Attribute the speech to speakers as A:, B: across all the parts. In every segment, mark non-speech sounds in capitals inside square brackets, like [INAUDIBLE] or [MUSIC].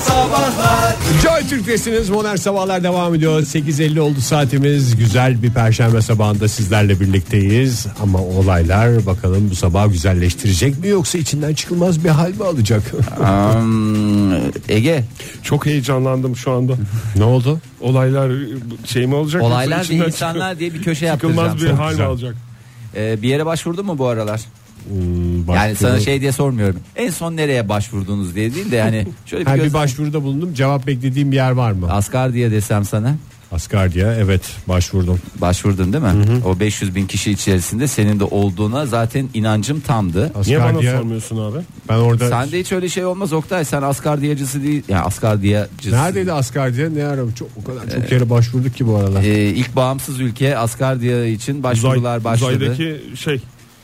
A: Sabahlar
B: Joy Türk'tesiniz Modern Sabahlar devam ediyor 8.50 oldu saatimiz güzel bir perşembe sabahında sizlerle birlikteyiz ama olaylar bakalım bu sabah güzelleştirecek mi yoksa içinden çıkılmaz bir hal mi alacak
C: Am, Ege
D: Çok heyecanlandım şu anda.
B: ne oldu
D: Olaylar şey mi olacak? yoksa
C: olaylar ve
D: içinden
C: insanlar diye bir köşe yaptıracağım.
D: çıkılmaz bir hal mi
B: güzel.
D: alacak?
C: Ee, bir yere başvurdun mu bu aralar?
B: Hmm,
C: Yani sana
B: başvuru-
C: şey diye sormuyorum. En son nereye başvurdunuz diye değil de yani şöyle bir,
B: Ha, bir
C: göz...
B: başvuruda bulundum cevap beklediğim bir yer var mı
C: Asgari diye desem sana
B: Asgardia evet başvurdum
C: başvurdun değil mi? O 500 bin kişi içerisinde senin de olduğuna zaten inancım tamdı.
D: Niye bana
B: Asgardia
D: sormuyorsun abi?
B: ben orada
C: Sende hiç öyle şey olmaz Oktay sen asgardiyacısı değil yani asgardiyacısı.
B: neredeydi Asgardia ne ara çok, o kadar çok yere başvurduk ki bu aralar
C: Ee, ilk bağımsız ülke asgardiya için başvurular
D: Uzay-
C: başladı. Uzaydaki,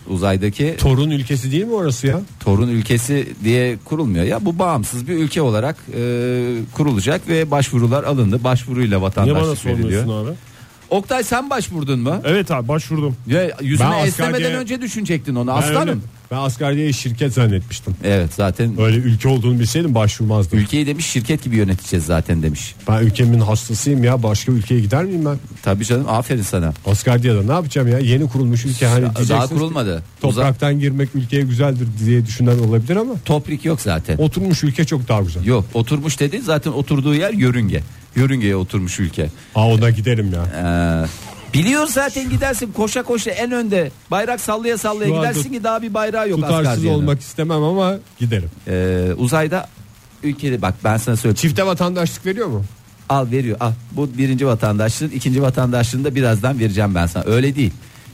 D: Uzaydaki şey.
B: torun ülkesi değil mi orası ya
C: torun ülkesi diye kurulmuyor ya bu bağımsız bir ülke olarak e, kurulacak ve başvurular alındı başvuruyla
D: Niye bana
C: vatandaşlık
D: sormuyorsun
C: veriliyor.
D: abi?
C: Oktay sen başvurdun mu?
D: Evet abi başvurdum.
C: Ya yüzüne
B: Ben
C: esnemeden
B: askerliğe-
C: önce düşünecektin onu
B: Ben
C: aslanım.
B: öyle- Ben Asgardia'yı şirket zannetmiştim.
C: Evet zaten
B: Öyle ülke olduğunu bilseydim başvurmazdım.
C: ülkeyi demiş şirket gibi yöneteceğiz zaten demiş.
B: Ben ülkemin hastasıyım ya başka ülkeye gider miyim ben?
C: Tabii canım aferin sana.
B: Asgardia'da ne yapacağım ya? Yeni kurulmuş ülke hani diyeceksiniz.
C: Daha
B: ki
C: kurulmadı. Uzak,
B: Topraktan girmek ülkeye güzeldir diye düşünen olabilir ama
C: toprik yok zaten.
B: oturmuş ülke çok daha güzel.
C: Yok oturmuş dedi zaten oturduğu yer yörünge. Yörüngeye oturmuş ülke.
B: Aa ona giderim ya.
C: Ee, biliyor zaten gidersin koşa koşa en önde bayrak sallaya sallaya
B: Şu anda
C: gidersin ki daha bir bayrağı yok
B: Tutarsız
C: Asgardiyanın.
B: olmak istemem ama giderim.
C: Ee, uzayda ülkede bak ben sana söyleyeyim
B: Çifte vatandaşlık veriyor mu?
C: al veriyor al bu birinci vatandaşlığın ikinci vatandaşlığını da birazdan vereceğim ben sana öyle değil.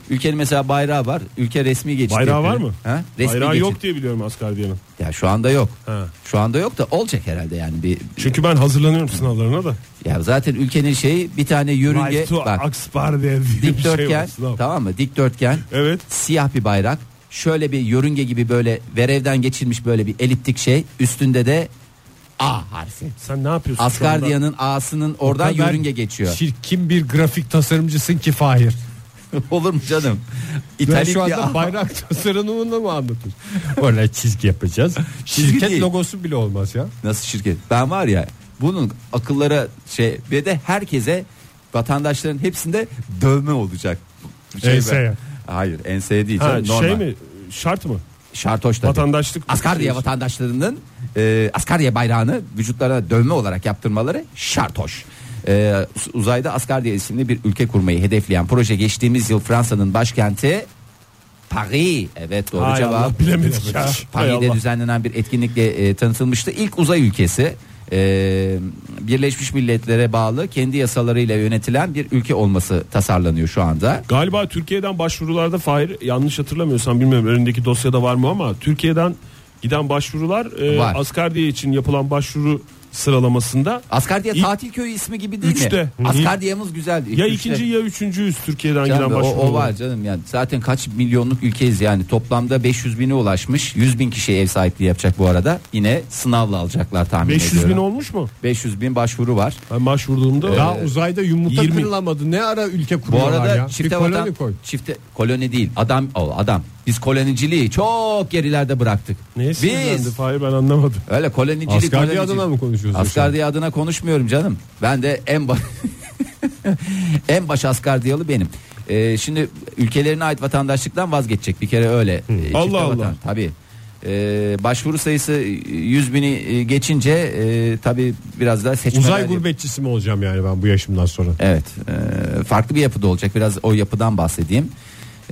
C: Ülkenin mesela bayrağı var. Ülke resmi geçit.
D: Bayrağı
C: yapıyor.
D: var mı?
C: Ha? Resmi
D: Bayrağı
C: geçit.
D: yok diye biliyorum Asgardiyan'ın.
C: Ya şu anda yok.
D: Ha.
C: Şu anda yok da olacak herhalde yani bir
D: Çünkü ben hazırlanıyorum sınavlarına da.
C: ya zaten ülkenin şeyi bir tane yörünge
D: Life to
C: bak
D: Asgardiya diye bir şey var
C: dikdörtgen
D: sınav.
C: tamam mı? Dikdörtgen.
D: Evet.
C: Siyah bir bayrak. Şöyle bir yörünge gibi böyle verevden geçilmiş böyle bir eliptik şey. Üstünde de
B: Ah,
C: A harfi.
D: Sen ne yapıyorsun şu anda?
C: Asgardiyanın A'sının oradan
B: kadar
C: yörünge geçiyor.
B: Çirkin bir grafik tasarımcısın ki Fahir.
C: [LAUGHS] Olur mu canım?
B: Ben
C: İtalik
B: şu
C: bir
B: anda
C: A.
B: [LAUGHS] bayrak tasarımını mı anlatıyorsun? Böyle çizgi yapacağız.
C: Çizgi
B: Şirket
C: değil.
B: logosu bile olmaz ya.
C: Nasıl şirket? Ben var ya bunun akıllara şey ve de herkese vatandaşların hepsinde dövme olacak. şey ben-
B: Enseye.
C: Hayır enseye değil.
D: Ha,
C: canım, normal.
D: şey mi? Şart mı?
C: Şartoş tabii.
D: Vatandaşlık. şey.
C: Asgarya vatandaşlarının e, Asgarya bayrağını vücutlarına dövme olarak yaptırmaları şart hoş. E, uzayda Asgarya isimli bir ülke kurmayı hedefleyen proje geçtiğimiz yıl Fransa'nın başkenti Paris. Evet doğru
D: Hay
C: cevap.
D: Allah, bilemedik ya. Hay
C: Paris'te
D: Allah.
C: düzenlenen bir etkinlikle e, tanıtılmıştı. İlk uzay ülkesi e, Birleşmiş Milletler'e bağlı kendi yasalarıyla yönetilen bir ülke olması tasarlanıyor şu anda.
D: Galiba Türkiye'den başvurularda Fahir yanlış hatırlamıyorsam bilmiyorum önündeki dosyada var mı ama Türkiye'den giden başvurular e,
C: Var.
D: Asgardiya için yapılan başvuru sıralamasında
C: Asgardiya
D: İlk-
C: tatil köyü ismi gibi değil
D: Üçte.
C: mi? Asgardiyamız güzeldi.
D: ya
C: Üçte.
D: ikinci ya üçüncüyüz Türkiye'den
C: Canım,
D: giden
C: o,
D: başvurular.
C: o var canım yani zaten kaç milyonluk ülkeyiz yani toplamda 500 bine ulaşmış 100 bin kişiye ev sahipliği yapacak bu arada yine sınavla alacaklar tahmin
D: 500 bin
C: ediyorum.
D: olmuş mu?
C: 500 bin başvuru var.
D: Ben başvurduğumda
B: Daha uzayda yumurta
D: 20.
B: kırılamadı. Ne ara ülke
C: Ee, Bu
B: kuruyorlar
C: arada
B: ya? Bir
C: çifte
B: koloni
C: vatan,
B: koy.
C: çifte koloni değil adam o adam biz koloniciliği çok gerilerde bıraktık.
D: neye sinirlendi
C: biz
D: Fahir ben anlamadım.
C: öyle kolonicilik
B: Asgardiya
C: kolonicilik-
B: adına mı konuşuyorsun?
C: Asgardiya adına konuşmuyorum canım. Ben de en baş [LAUGHS] en baş Asgardiyalı benim. Ee, şimdi ülkelerine ait vatandaşlıktan vazgeçecek bir kere öyle. Ee, çifte
D: Allah Allah.
C: Tabii. Ee, başvuru sayısı 100 bini e, geçince e, tabii biraz daha
B: şu an?
C: seçmeler.
B: Uzay gurbetçisi mi olacağım yani ben bu
C: [LAUGHS]
B: yaşımdan sonra?
C: Evet. e, farklı bir yapıda olacak. Biraz o yapıdan bahsedeyim.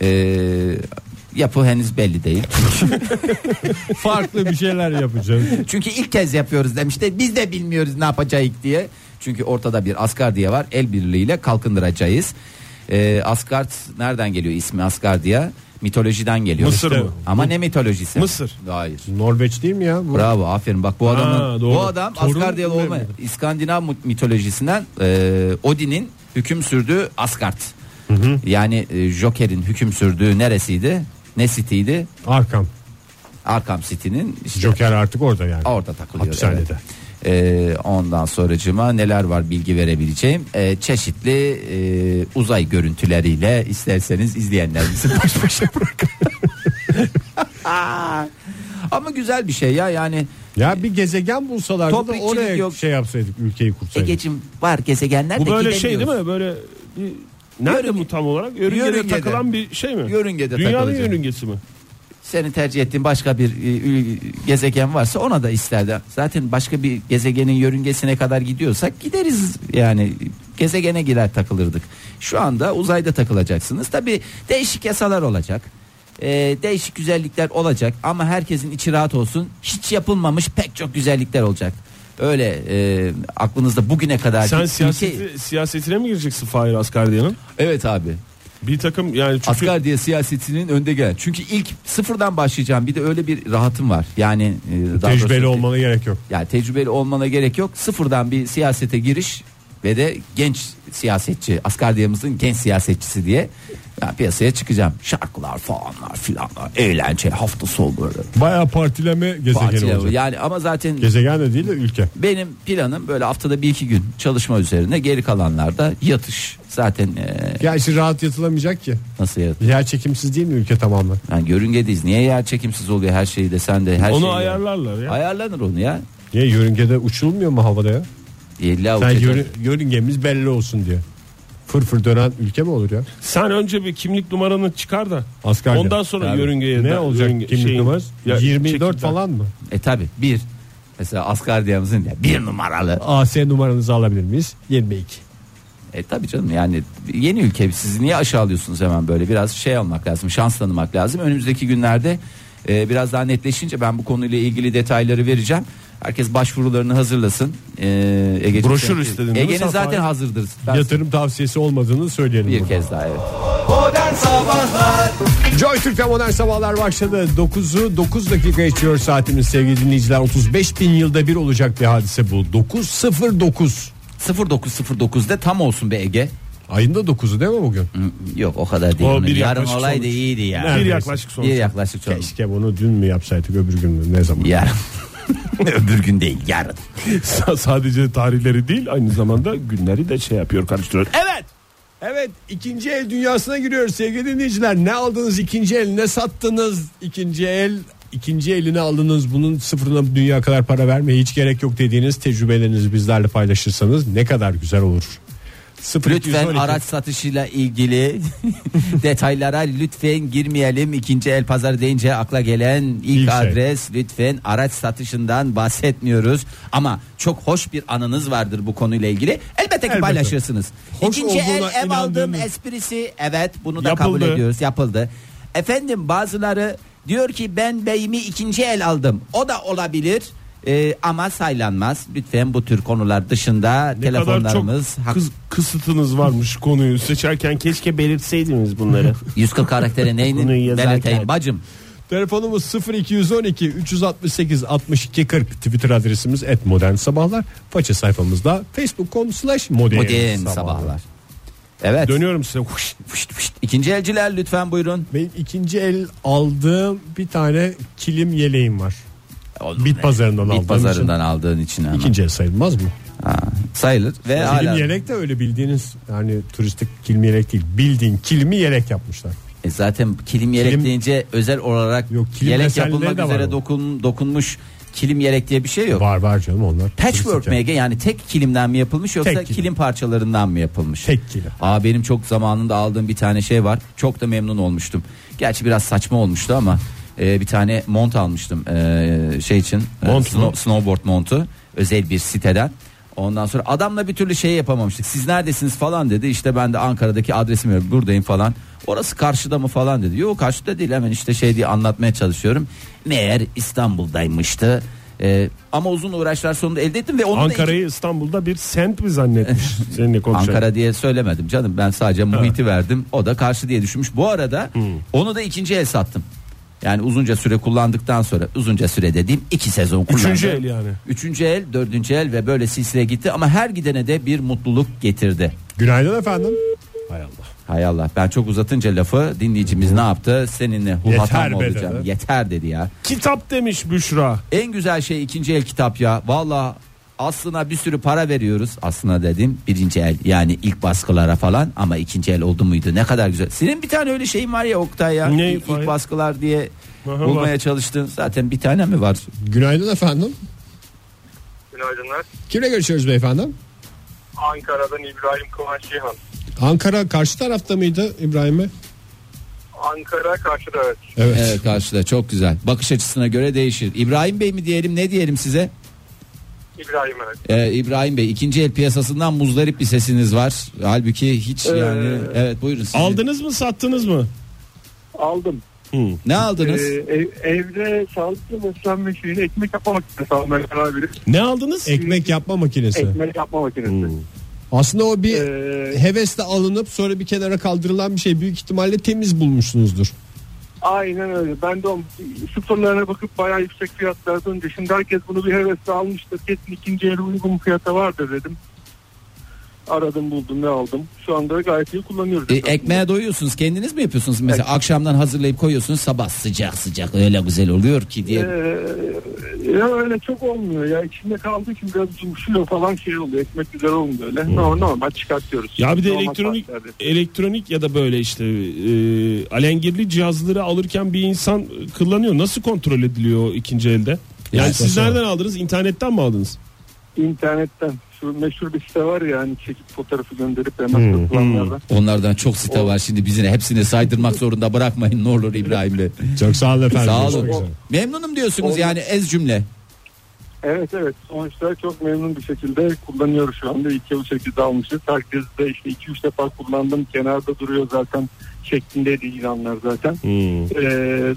C: Ee, yapı henüz belli değil.
B: Farklı bir şeyler yapacağım.
C: Çünkü ilk kez yapıyoruz demişti. Biz de bilmiyoruz ne yapacağız diye. Çünkü ortada bir Asgardiya var. El birliğiyle kalkındıracağız. Ee, Asgard nereden geliyor ismi Asgardiya? Mitolojiden geliyor.
D: Mısır
C: İşte.
D: mı?
C: Ama ne mitolojisi?
D: Mısır.
C: Hayır.
B: Norveç değil mi ya? Bu
C: Bravo aferin bak bu adamın
D: doğru.
C: bu adam
D: Torun
C: Asgardiyalı
D: mu
C: olma İskandinav mitolojisinden e, Odin'in hüküm sürdüğü Asgard. Yani e, Joker'in hüküm sürdüğü neresiydi? Ne city'ydi?
B: Arkam.
C: Arkham City'nin işte
B: Joker artık orada yani.
C: Orada takılıyor.
B: Hapishanede.
C: evet. Ee, ondan sonracıma neler var bilgi verebileceğim Ee, çeşitli e, uzay görüntüleriyle isterseniz
D: [LAUGHS]
C: izleyenlerimizi [LAUGHS] baş başa bırakın. Ama güzel bir şey ya yani
B: Ya bir gezegen bulsalar da
C: Toprikçilik
B: oraya
C: yok. E,
B: şey yapsaydık ülkeyi kursaydık.
C: Egeciğim var gezegenler
D: Bu
C: de
D: böyle şey değil
C: gidemiyoruz.
D: mi? Böyle bir Nerede
C: Yörünge-
D: bu tam olarak? Yörüngede,
C: Yörüngede.
D: takılan bir şey mi?
C: Yörüngede
D: Dünyanın
C: takılacak.
D: yörüngesi mi?
C: Senin tercih ettiğin başka bir e, ül- gezegen varsa ona da isterdi. Zaten başka bir gezegenin yörüngesine kadar gidiyorsak gideriz yani gezegene girer takılırdık. Şu anda uzayda takılacaksınız. Tabi değişik yasalar olacak. E, değişik güzellikler olacak ama herkesin içi rahat olsun. Hiç yapılmamış pek çok güzellikler olacak. Öyle e, aklınızda bugüne kadar
D: Sen
C: bir
D: siyaseti,
C: ülke-
D: siyasetine mi gireceksin Fahir Asgardiyan'ın?
C: Evet abi.
D: Bir takım yani çünkü
C: Asgar diye siyasetinin önde gelen. Çünkü ilk sıfırdan başlayacağım. Bir de öyle bir rahatım var. Yani e, daha
B: Tecrübeli
C: doğrusu-
B: olmana gerek yok.
C: Yani tecrübeli olmana gerek yok. Sıfırdan bir siyasete giriş ve de genç siyasetçi, Asgardiyamızın genç siyasetçisi diye ben piyasaya çıkacağım. Şarkılar falanlar filanlar, eğlence, hafta sonları,
B: Baya partileme gezegeni
C: partiler.
B: olacak.
C: Yani ama zaten
B: Gezegen de değil de ülke.
C: benim planım böyle haftada bir iki gün çalışma üzerine geri kalanlarda yatış. Zaten e,
B: Gerçi rahat yatılamayacak ki.
C: nasıl yatış?
B: Yer çekimsiz değil mi ülke tamamen?
C: Yani yörüngedeyiz. Niye yer çekimsiz oluyor her şeyi de sen de her
D: onu
C: şeyi de-
D: ayarlarlar ya.
C: Ayarlanır onu ya. E,
B: Niye yörüngede uçulmuyor mu havada ya?
C: İlla
B: Sen
C: uçacak.
B: yörü- yörüngemiz belli olsun diye. Fırfır dönen ülke mi olur ya?
D: Sen önce bir kimlik numaranı çıkar da
B: Asgarya.
D: ondan sonra
C: Tabii.
D: yörüngeye
B: Ne
D: da-
B: olacak
D: yörünge-
B: kimlik
D: şeyin-
B: numarası?
D: ya-
B: 24
D: [LAUGHS] çekimden.
B: falan mı?
C: E tabi bir. Mesela Asgardiyamızın ya bir numaralı.
B: AS numaranızı alabilir miyiz? 22.
C: E tabi canım yani yeni ülke siz niye aşağılıyorsunuz hemen böyle biraz şey almak lazım şans tanımak lazım. Önümüzdeki günlerde e, biraz daha netleşince ben bu konuyla ilgili detayları vereceğim. Herkes başvurularını hazırlasın. E, Egeciğim
D: Broşür
C: sen-
D: istedin değil mi
C: Ege'nin
D: sen
C: zaten
D: Fahir?
C: hazırdır. Ben
B: Yatırım tavsiyesi olmadığını söyleyelim.
C: bir
B: burada.
C: kez daha evet.
B: Joy Türk'te modern sabahlar başladı. 9'u 9 dakika geçiyor saatimiz sevgili dinleyiciler. 35 bin yılda bir olacak bir hadise bu. 9.09.
C: 0909'da tam olsun be Ege.
B: Ayında 9'u değil mi bugün?
C: Hı, Yok o kadar değil.
D: O
C: Onun
D: bir
C: Yarın
D: yaklaşık
C: olaydı
D: sonuç.
C: iyiydi ya.
D: Bir
B: Neredeyse.
D: yaklaşık sonuç.
C: Bir yaklaşık sonuç.
B: Keşke bunu dün mü yapsaydık öbür gün mü ne zaman?
C: Yarın. [LAUGHS] Öbür gün değil yarın.
D: S- Sadece tarihleri değil aynı zamanda günleri de şey yapıyor karıştırıyor.
C: Evet.
B: Evet ikinci el dünyasına giriyoruz sevgili dinleyiciler. Ne aldınız ikinci el ne sattınız ikinci el ikinci elini aldınız bunun sıfırına dünya kadar para vermeye hiç gerek yok dediğiniz tecrübelerinizi bizlerle paylaşırsanız ne kadar güzel olur. 0
C: Lütfen
B: 212.
C: araç satışıyla ilgili detaylara lütfen girmeyelim. İkinci el pazarı deyince akla gelen ilk,
B: İlk şey.
C: adres lütfen araç satışından bahsetmiyoruz. Ama çok hoş bir anınız vardır bu konuyla ilgili. Elbette ki
B: Elbette.
C: paylaşırsınız.
B: Hoş
C: İkinci el
B: olduğuna
C: ev aldım
B: inandığımız-
C: esprisi evet bunu da kabul
D: Yapıldı.
C: ediyoruz yapıldı. Efendim bazıları diyor ki ben beyimi ikinci el aldım. O da olabilir. Ee, ama saylanmaz. Lütfen bu tür konular dışında
D: Ne kadar çok
C: telefonlarımız hak-
D: kız, kısıtınız varmış konuyu seçerken keşke belirtseydiniz bunları.
C: 140
B: [LAUGHS]
C: karaktere neyini
D: Bunu yazarken.
C: belirteyim bacım.
B: Telefonumuz 0212 368 62 40 Twitter adresimiz et modern sabahlar. Faça sayfamızda facebook.com slash modern
C: Modern
B: sabahlar.
C: sabahlar. Evet.
D: Dönüyorum size. Huş.
C: Fışt fışt. İkinci elciler lütfen buyurun.
B: Benim ikinci el aldığım bir tane kilim yeleğim var. Bit pazarından aldığım
C: Bit
B: için.
C: pazarından aldığın için ama.
B: İkinci el sayılmaz mı?
C: Ha, sayılır ve
B: Kilim
C: E, hala.
B: yelek de öyle bildiğiniz yani turistik kilim yelek değil. Bildiğin kilimi yelek yapmışlar.
C: E zaten kilim yelek
B: Kilim-
C: deyince özel olarak
B: Yok, kilim
C: yelek
B: meselleri
C: yapılmak
B: de var
C: üzere
B: ama.
C: dokun, dokunmuş kilim yelek diye bir şey yok.
B: Var var canım onlar.
C: Patchwork
B: turistik
C: mı
B: yani.
C: Ege? yani tek kilimden mi yapılmış yoksa
B: Tek
C: kilim.
B: kilim.
C: parçalarından mı yapılmış?
B: Tek kilim.
C: Aa benim çok zamanında aldığım bir tane şey var. Çok da memnun olmuştum. Gerçi biraz saçma olmuştu ama e, bir tane mont almıştım e, şey için. e,
D: Mont
C: snow-
D: mu?
C: snowboard montu özel bir siteden. Ondan sonra adamla bir türlü şey yapamamıştık. Siz neredesiniz falan dedi. İşte ben de Ankara'daki adresim veriyorum. Buradayım falan. Orası karşıda mı falan dedi. Yok karşıda değil hemen işte şey diye anlatmaya çalışıyorum. Meğer İstanbul'daymıştı. E, ama uzun uğraşlar sonunda elde ettim ve onu da
D: Ankara'yı İstanbul'da bir sent mi zannetmiş seninle konuşan?
C: Ankara diye söylemedim canım ben sadece muhiti verdim o da karşı diye düşünmüş bu arada onu da ikinci el sattım yani uzunca süre kullandıktan sonra uzunca süre dediğim iki sezon kullandım.
D: Üçüncü el yani.
C: Üçüncü el dördüncü el ve böyle silsile gitti ama her gidene de bir mutluluk getirdi.
B: Günaydın efendim. Hay Allah.
C: Hay Allah ben çok uzatınca lafı dinleyicimiz ne yaptı seninle
B: Yeter
C: huhatam
B: be
C: olacağım
B: dedi.
C: yeter dedi ya.
D: Kitap demiş Büşra.
C: En güzel şey ikinci el kitap ya. Valla aslına bir sürü para veriyoruz. Aslına dedim birinci el yani ilk baskılara falan ama ikinci el oldu muydu ne kadar güzel. Senin bir tane öyle şeyin var ya Oktay ya.
D: Ne?
C: İlk, ilk baskılar diye
D: Aha,
C: bulmaya
D: var.
C: çalıştın. Zaten bir tane mi var?
B: Günaydın efendim.
A: Günaydınlar.
B: Kimle görüşüyoruz beyefendi?
A: Ankara'dan İbrahim Kıvanç Cihan.
B: Ankara karşı tarafta mıydı İbrahim Bey?
A: Ankara karşıda evet.
B: Evet.
C: Evet karşıda çok güzel. Bakış açısına göre değişir. İbrahim Bey mi diyelim ne diyelim size?
A: İbrahim evet.
C: Ee, İbrahim Bey ikinci el piyasasından muzdarip bir sesiniz var. Halbuki hiç
D: Ee,
C: yani evet buyurun. sizi.
D: Aldınız mı sattınız mı?
A: Aldım.
C: Ne aldınız?
A: Ee,
D: Ee,
A: evde sağlıklı beslenme şeyini ekmek yapma makinesi almaya karar verip
D: Ne aldınız?
B: Ekmek yapma makinesi.
A: ekmek yapma makinesi.
C: Hmm.
B: Aslında o bir
A: Ee,
B: hevesle alınıp sonra bir kenara kaldırılan bir şey büyük ihtimalle temiz bulmuşsunuzdur.
A: aynen öyle. Ben de o sıfırlarına bakıp bayağı yüksek fiyatlara dönünce şimdi herkes bunu bir hevesle almıştır. Kesin ikinci el uygun fiyata vardır dedim. Aradım buldum ne aldım. Şu anda gayet iyi kullanıyoruz.
C: E,
A: esasında.
C: ekmeğe doyuyorsunuz kendiniz mi yapıyorsunuz? Mesela akşamdan hazırlayıp koyuyorsunuz sabah sıcak sıcak öyle güzel oluyor ki diye.
A: Ee, ya öyle çok olmuyor ya içinde kaldığı için biraz cumşuyor falan şey oluyor ekmek güzel olmuyor öyle normal, normal çıkartıyoruz.
D: Ya bir de
A: Normal
D: elektronik
A: saatlerde.
D: elektronik ya da böyle işte e, alengirli cihazları alırken bir insan kullanıyor. Nasıl kontrol ediliyor o ikinci elde? Yani
B: Ya,
D: siz
B: sosyal.
D: nereden aldınız? İnternetten mi aldınız?
A: İnternetten şu meşhur bir site var ya hani çekip fotoğrafı gönderip hemen satılanlardan.
C: Onlardan çok site var şimdi bizim hepsini saydırmak zorunda bırakmayın ne olur İbrahim Bey.
B: Çok sağ olun efendim.
C: Sağ
B: Görüşmek üzere.
C: olun. Memnunum diyorsunuz yani ez cümle.
A: Evet evet sonuçta çok memnun bir şekilde kullanıyoruz şu anda. İki yıl şekilde almışız. Herkes de işte iki üç defa kullandım. Kenarda duruyor zaten şeklindeydi ilanlar zaten. Ee,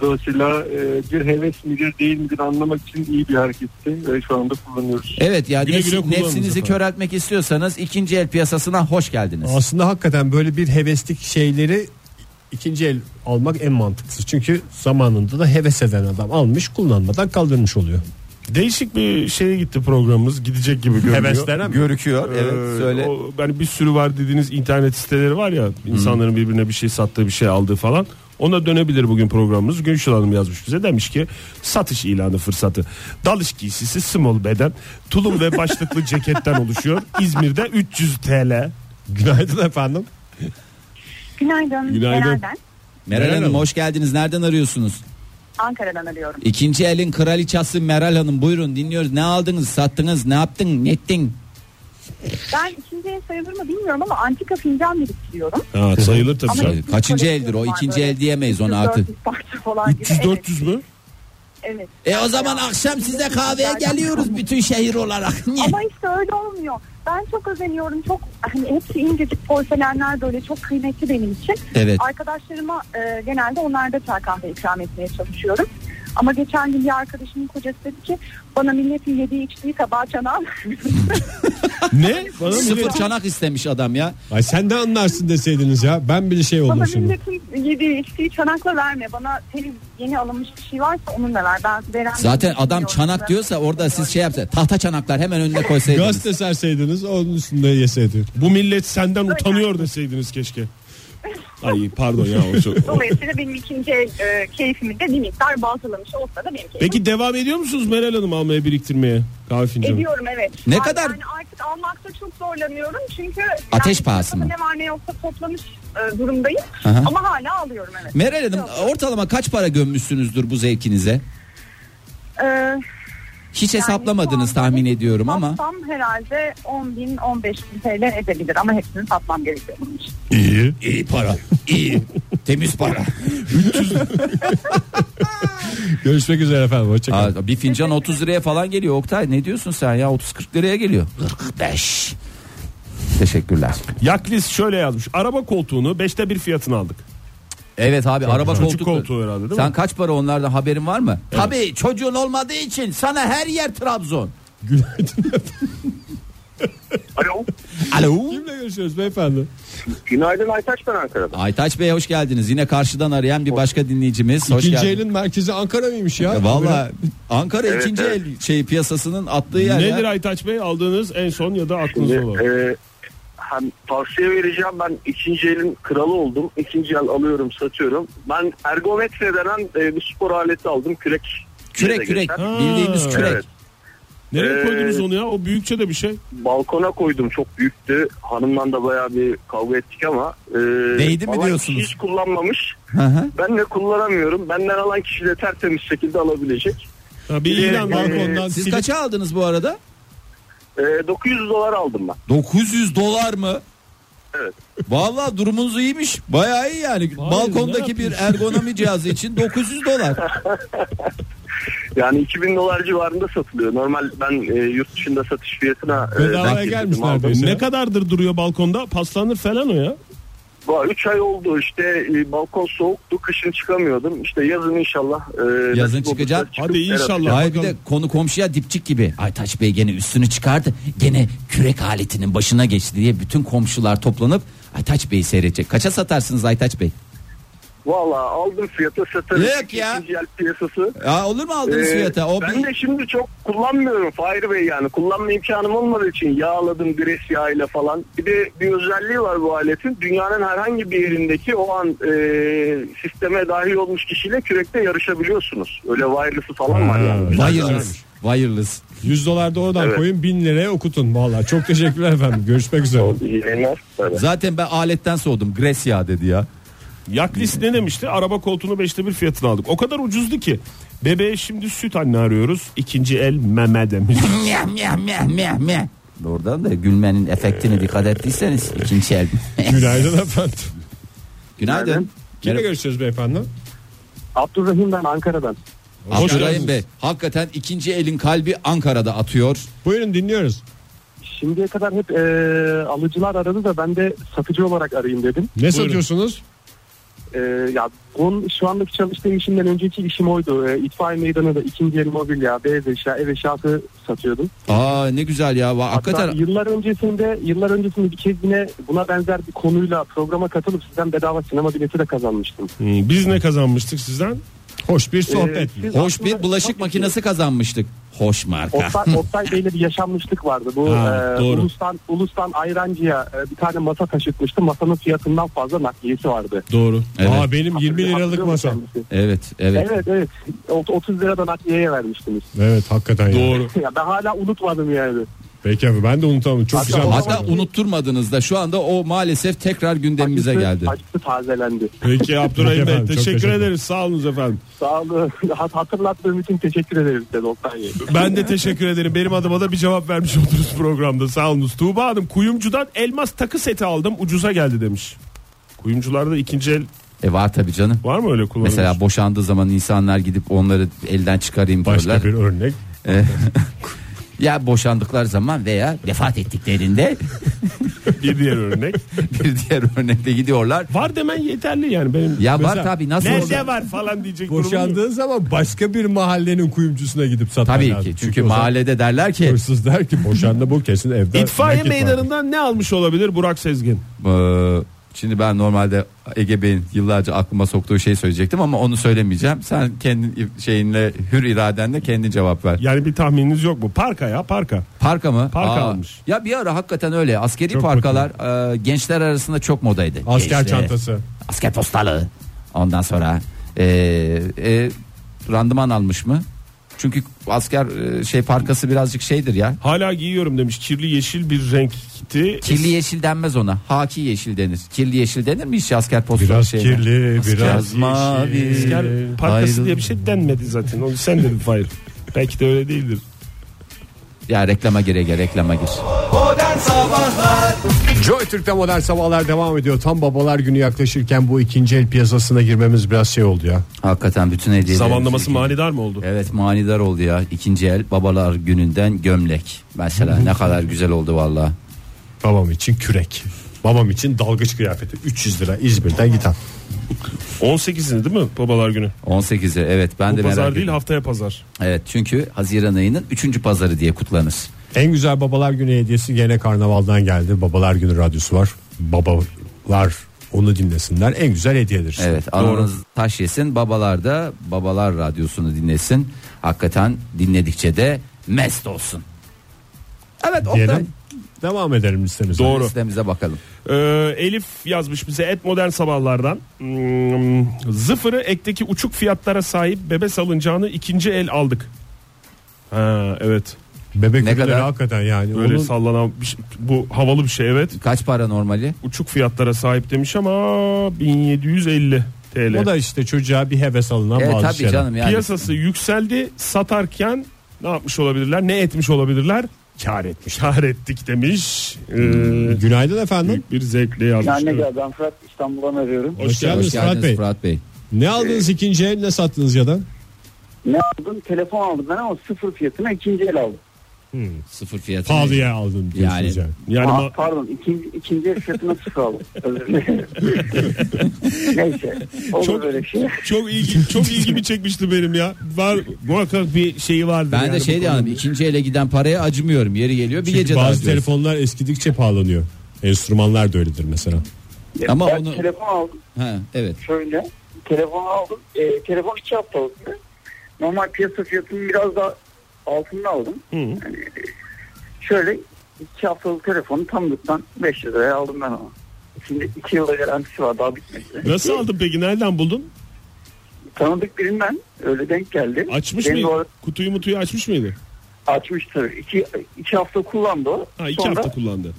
A: dolayısıyla e, bir heves midir değil midir anlamak için iyi bir hareketti ve şu anda kullanıyoruz.
C: Evet yani
D: Güle
C: nefs-
D: güle kullanınız
C: nefsinizi
D: efendim.
C: köreltmek istiyorsanız ikinci el piyasasına hoş geldiniz.
B: Aslında hakikaten böyle bir heveslik şeyleri ikinci el almak en mantıklısı. Çünkü zamanında da heves eden adam almış kullanmadan kaldırmış oluyor.
D: Değişik bir şeye gitti programımız. Gidecek gibi görünüyor.
B: Heveslenen mi?
C: Görüküyor evet
D: Ee,
C: söyle.
D: o- yani bir sürü var dediğiniz internet siteleri var ya insanların birbirine bir şey sattığı bir şey aldığı falan. Ona dönebilir bugün programımız. Gülşen Hanım yazmış bize demiş ki satış ilanı fırsatı. Dalış giysisi small beden tulum ve başlıklı ceketten oluşuyor. İzmir'de 300 TL.
B: Günaydın efendim.
E: Günaydın.
D: Günaydın.
E: Meral ben.
C: Meral
B: Meral
C: Hanım
B: Hanım.
C: hoş geldiniz nereden arıyorsunuz?
E: Ankara'dan arıyorum.
C: İkinci elin kraliçası Meral Hanım buyurun dinliyoruz. Ne aldınız sattınız ne yaptın ne ettin?
E: Ben ikinci el sayılır mı bilmiyorum ama antika fincan biriktiriyorum.
D: Ha, sayılır tabii.
E: Ama
D: canım.
E: ikinci
C: Kaçıncı
E: koleksiyonum
C: eldir o
E: var
C: ikinci
E: böyle.
C: el diyemeyiz onu
E: 300-400
C: artık.
E: parça falan gibi.
D: 300-400 mü?
E: Evet.
C: E o
E: evet.
C: zaman
E: Yani
C: akşam
E: ikinci
C: size
E: el
C: kahveye
E: fincanlardan
C: geliyoruz
E: kalmış.
C: bütün şehir olarak. [LAUGHS] Niye?
E: Ama işte öyle olmuyor. Ben çok özeniyorum. Çok hani hepsi incecik porselenler böyle çok kıymetli benim için.
C: Evet.
E: Arkadaşlarıma e, genelde onlarda çay kahve ikram etmeye çalışıyorum. Ama geçen gün bir arkadaşımın kocası dedi ki bana milletin yediği içtiği tabağa çanağı
D: [LAUGHS]
E: [LAUGHS]
D: Ne? Bana mı
C: Sıfır
D: diyor?
C: çanak istemiş adam ya.
B: Ay sen de anlarsın deseydiniz ya. Ben bile şey
E: Bana
B: oldum şimdi.
E: milletin yediği içtiği çanakla verme. Bana temiz yeni alınmış bir şey varsa onunla ver. Ben veren şey
C: Zaten adam çanak
E: Ben-
C: diyorsa orada siz şey yapsa tahta çanaklar hemen önüne koysaydınız.
B: Gazete serseydiniz onun üstünde yeseydi.
D: Bu millet senden utanıyor deseydiniz keşke. Ay pardon ya o çok.
E: Dolayısıyla benim ikinci el e, keyfimi de bir miktar baltalamış olsa da benim keyfim.
D: Peki devam ediyor musunuz Meral Hanım almaya biriktirmeye kahve fincanı?
E: Ediyorum evet.
C: Ne
E: Yani-
C: kadar-
E: Yani artık almakta çok zorlanıyorum çünkü...
C: Ateş
E: yani
C: pahası mı?
E: Ne var ne yoksa toplamış e, durumdayım.
C: Aha.
E: Ama hala alıyorum evet.
C: Meral Hanım ortalama kaç para gömmüşsünüzdür bu zevkinize?
E: Ee,
C: Hiç
E: Yani
C: hesaplamadınız
E: şu anda
C: tahmin ediyorum ama.
E: Satsam herhalde 10 bin 15 bin TL edebilir ama hepsini satmam gerekiyor bunun için.
D: İyi.
C: İyi para. iyi Temiz para.
B: Görüşmek üzere efendim. Hoşçakalın.
C: Aa, bir fincan 30 liraya falan geliyor. Oktay ne diyorsun sen ya? 30-40 liraya geliyor. 45. Teşekkürler.
D: Yaklis şöyle yazmış. Araba koltuğunu 5'te bir fiyatına aldık.
C: Evet abi araba
D: güzel.
C: koltuk.
D: Çocuk koltuğu herhalde değil mi?
C: Sen kaç para onlardan haberin var mı? Tabii çocuğun olmadığı için sana her yer Trabzon.
A: Alo.
C: Alo.
B: Kimle görüşüyoruz beyefendi?
A: Günaydın Aytaç ben Ankara'dan.
C: Aytaç Bey hoş geldiniz. Yine karşıdan arayan bir başka dinleyicimiz. Hoş
B: İkinci
C: geldiniz.
B: elin merkezi Ankara mıymış ya?
C: Ya Valla Ankara ikinci
A: evet.
C: el şey piyasasının attığı yer
D: Nedir
C: ya.
D: Aytaç Bey aldığınız en son ya da aklınızda olan?
A: e, hem tavsiye vereceğim ben ikinci elin kralı oldum. İkinci el alıyorum satıyorum. Ben ergometre denen e, bir spor aleti aldım kürek. diye de
C: Kürek kürek.
A: geçer.
D: Ha.
C: Bildiğimiz kürek.
A: Evet.
D: Nereye
A: Ee,
D: koydunuz onu ya? O büyükçe de bir şey.
A: balkona koydum çok büyüktü. Hanımdan da bayağı bir kavga ettik ama. e,
C: Değdi mi
A: alan
C: diyorsunuz?
A: kişi Hiç kullanmamış.
C: Hı hı.
A: Ben de kullanamıyorum. Benden alan kişi de tertemiz şekilde alabilecek.
D: Ha, bir
A: Bir de,
D: ilan var
A: e,
D: ondan.
C: Siz
D: silip-
C: kaça aldınız bu arada?
F: Ee, 900 dolar aldım ben.
C: 900 dolar mı?
F: Evet.
C: Vallahi durumunuz iyiymiş. Bayağı iyi yani. Balkondaki bir ergonomi cihazı için 900 dolar.
F: Yani 2000 dolar civarında satılıyor. Normal ben e, yurt dışında satış fiyatına... e,
B: Bedavaya
F: denk getirdim,
B: gelmiş
F: aldım.
B: neredeyse.
D: Ne kadardır duruyor balkonda? Paslanır falan o ya.
F: Bu 3 ay oldu işte e, balkon soğuktu kışın çıkamıyordum. İşte yazın inşallah. e,
C: Yazın
F: nasip olursa
C: çıkacak.
F: çıkıp
D: Hadi
F: beraber-
D: inşallah.
C: Hayır bir de konu komşuya dipçik gibi. Aytaç Bey gene üstünü çıkardı. Gene kürek aletinin başına geçti diye bütün komşular toplanıp Aytaç Bey'i seyredecek. Kaça satarsınız Aytaç Bey?
F: Valla aldım fiyata satarım.
C: Yok ya.
F: İkinci el piyasası.
C: Ya olur mu aldığınız
F: Ee,
C: fiyata? O
F: ben
C: bir-
F: de şimdi çok kullanmıyorum Fahir Bey yani. Kullanma imkanım olmadığı için yağladım gres yağıyla falan. Bir de bir özelliği var bu aletin. Dünyanın herhangi bir yerindeki o an e, sisteme dahil olmuş kişiyle kürekte yarışabiliyorsunuz. Öyle wireless'ı falan
C: Hmm.
F: var yani. Güzel
C: wireless. Wireless.
B: 100 dolar da oradan
F: Evet.
B: koyun 1000 liraya okutun. Vallahi çok teşekkürler efendim. Görüşmek üzere.
F: İyi yayınlar. Bay bay.
C: Zaten ben aletten soğudum. Gres ya dedi ya.
D: Yaklis ne demişti? Araba koltuğunu beşte bir fiyatına aldık. O kadar ucuzdu ki. Bebeğe şimdi süt anne arıyoruz. İkinci el meme demiş.
C: Meh, meh, meh, meh, meh. Oradan da gülmenin efektini dikkat ettiyseniz ikinci el. [LAUGHS]
B: Günaydın efendim.
C: Günaydın.
B: Kimle görüşüyoruz beyefendi?
A: Abdurrahim ben Ankara'dan.
B: Hoş
C: Abdurrahim
B: geldiniz.
C: Bey hakikaten ikinci elin kalbi Ankara'da atıyor.
B: Buyurun dinliyoruz.
A: Şimdiye kadar hep e, alıcılar aradı da ben de satıcı olarak arayayım dedim.
B: Ne satıyorsunuz?
A: E, ya onun şu andaki çalıştığım işimden önceki işim oydu. E, itfaiye meydanında ikinci el mobilya, beyaz eşya, ev eşyası satıyordum.
C: Aa ne güzel ya. Va-
A: Hatta
C: Hakikaten
A: yıllar öncesinde yıllar öncesinde bir kez yine buna benzer bir konuyla programa katılıp sizden bedava sinema bileti de kazanmıştım.
D: Hmm, Biz ne kazanmıştık sizden?
B: Hoş bir sohbet.
A: Ee, siz
C: hoş
A: aslında
C: bir bulaşık
A: çok-
C: makinesi kazanmıştık. Hoş marka.
A: Oktay, Oktay Bey'le bir yaşanmışlık vardı. Bu
D: Ha,
A: e,
D: doğru.
A: Ulus'tan, Ulus'tan Ayrancı'ya e, bir tane masa taşıtmıştı. Masanın fiyatından fazla nakliyesi vardı.
D: [LAUGHS] Doğru.
C: Evet.
B: Aa benim 20 liralık
A: Hatırlıyor musun
B: masam.
A: kendisi?
C: Evet, evet.
A: Evet evet. Ot- 30 lira da nakliyeye vermiştiniz. [LAUGHS]
B: Evet hakikaten ya.
D: Doğru.
A: ya ben hala unutmadım yani.
B: Peki abi ben de unutamam. Çok
A: Hatta-
B: güzel. bir
C: Hatta
B: sohbet.
C: unutturmadınız da şu anda o maalesef tekrar gündemimize
A: Acısı-
C: geldi.
A: Acısı tazelendi.
D: Peki Abdurrahim
B: Peki
D: Bey
B: efendim, çok
D: teşekkür
B: teşekkür
D: ederiz. Sağ olun efendim.
A: Sağ olun. [LAUGHS] Hat- Hatırlattığım için teşekkür ederim size Oktay Bey.
D: Ben de teşekkür ederim. Benim adıma da bir cevap vermiş oldunuz programda. Sağ olunuz. Tuğba Hanım kuyumcudan elmas takı seti aldım. Ucuza geldi demiş. Kuyumcularda ikinci el
C: E var tabii canım.
D: var mı öyle kullanılmış?
C: Mesela boşandığı zaman insanlar gidip onları elden çıkarayım diyorlar.
B: Başka bir örnek.
C: Ya boşandıkları zaman veya vefat ettiklerinde
D: bir diğer örnek.
C: [LAUGHS] bir diğer örnekte gidiyorlar.
D: Var demen yeterli yani benim.
C: Ya var
B: Mesela,
C: tabii nasıl
D: Nerede
C: olacak?
D: var falan diyecek durumum yok.
B: Boşandığın zaman başka bir mahallenin kuyumcusuna gidip satman
C: Tabii
B: lazım.
C: ki. Çünkü
B: Çünkü o zaman
C: mahallede derler ki
B: Hırsız der ki boşandı bu kesin evde.
D: İtfaiye
B: nakit var."
D: meydanından ne almış olabilir Burak Sezgin?
C: Ee, Şimdi ben normalde Ege Bey'in yıllarca aklıma soktuğu şeyi söyleyecektim ama onu söylemeyeceğim. Sen kendi şeyinle hür iradenle kendin cevap ver.
D: Yani bir tahmininiz yok mu? Parka ya parka.
C: Parka mı?
D: Parka
C: Aa,
D: almış.
C: Ya bir ara hakikaten öyle. Askeri
B: Çok
C: parkalar e, gençler arasında çok modaydı.
B: Asker
C: Gençler,
B: çantası.
C: Asker postalı. Ondan sonra e, e, randıman almış mı? Çünkü asker e, şey parkası birazcık şeydir ya.
D: Hala giyiyorum demiş. Kirli yeşil bir renkti.
C: Kirli yeşil denmez ona. Haki yeşil denir. Kirli yeşil denir mi hiç asker postalı
B: Biraz
C: şeyine?
B: kirli, biraz
C: Biraz mavi.
B: yeşil.
D: Asker parkası
C: Ayrıl-
D: diye bir şey denmedi zaten. Onu sen dedin Fahir. Belki de öyle değildir. şey-
C: Ya reklama gir Ege reklama gir.
B: Joy Türk'te modern sabahlar devam ediyor. Tam babalar günü yaklaşırken bu ikinci el piyasasına girmemiz biraz şey oldu ya.
C: Hakikaten bütün hediyeler.
D: Zamanlaması manidar mı oldu?
C: Evet manidar oldu ya. İkinci el babalar gününden gömlek. Mesela ne kadar güzel oldu valla.
B: Babam için kürek. Babam için dalgıç kıyafeti 300 lira İzmir'den giden.
D: 18'ini değil mi babalar günü?
C: 18'i evet ben
D: Bu
C: de merak
D: pazar değil
C: ettim.
D: haftaya pazar.
C: Evet çünkü Haziran ayının 3. pazarı diye kutlanır.
B: En güzel babalar günü hediyesi gene karnavaldan geldi. Babalar günü radyosu var. Babalar onu dinlesinler. En güzel hediyedir.
C: Evet ananız taş yesin babalar da babalar radyosunu dinlesin. Hakikaten dinledikçe de mest olsun. Evet Oktay.
B: Diyelim. Devam edelim listemize.
D: Doğru.
C: Listemize bakalım.
D: Ee, Elif yazmış bize et modern sabahlardan. Hmm, zıfırı ekteki uçuk fiyatlara sahip bebe salıncağını ikinci el aldık. Ha, evet.
B: Bebek
C: Ne
B: ne
C: kadar?
B: hakikaten yani.
D: Böyle
B: Onun
D: sallanan bir şey- bu havalı bir şey evet.
C: Kaç para normali?
D: Uçuk fiyatlara sahip demiş ama 1750 TL.
B: o da işte çocuğa bir heves alınan
C: Evet
B: bazı
C: E, tabii
B: şeyler.
C: canım yani.
D: Piyasası yükseldi satarken ne yapmış olabilirler? Ne etmiş olabilirler? Kar etmiş. Kar ettik demiş. Ee,
C: Hmm.
B: Günaydın efendim.
D: büyük bir zevkle yazmış.
G: Yani ne
D: Evet.
G: güzel ben Fırat İstanbul'dan arıyorum.
B: Hoş, geldiniz Fırat Bey.
C: Fırat Bey.
B: Ne aldınız ikinci el ne sattınız ya da?
G: Ne aldım? Telefon aldım ben ama sıfır fiyatına ikinci el aldım.
C: Sıfır fiyatı.
B: Pahalıya aldım diyorsunuz yani.
C: Yani.
D: Yani
G: Aa,
D: ma-
G: Ah, pardon ikinci, ikinci el fiyatına sıfır
C: [LAUGHS]
G: aldım. Özür dilerim. [LAUGHS] Neyse olur
D: Çok-
G: böyle şey.
D: çok ilgi çok ilgimi çekmişti benim ya. Var muhakkak bir şeyi vardı.
C: Ben de şey diyorum ikinci ele giden paraya acımıyorum. Yeri geliyor bir gece
B: Çünkü
C: daha
B: bazı
C: diyorum.
B: telefonlar eskidikçe pahalanıyor. Enstrümanlar da öyledir mesela.
C: Ama
G: ben
C: onu-
G: telefon aldım
C: Ha, evet.
G: şöyle. Telefon aldım. E, telefon iki haftalıktı. Normal piyasa fiyatının biraz daha altında aldım. Yani, e, şöyle iki haftalık telefonu Tamlık'tan 500 liraya aldım ben onu. Şimdi iki yılda garantisi var daha bitmedi.
D: Nasıl aldın peki? Nereden buldun?
G: Tanıdık birinden öyle denk geldi.
D: Açmış
G: Benim
D: mıydı?
G: bu arada
D: Kutuyu mutuyu açmış mıydı?
G: Açmış tabii. İki, iki hafta kullandı o.
D: Ha iki
G: sonra,
D: hafta kullandı.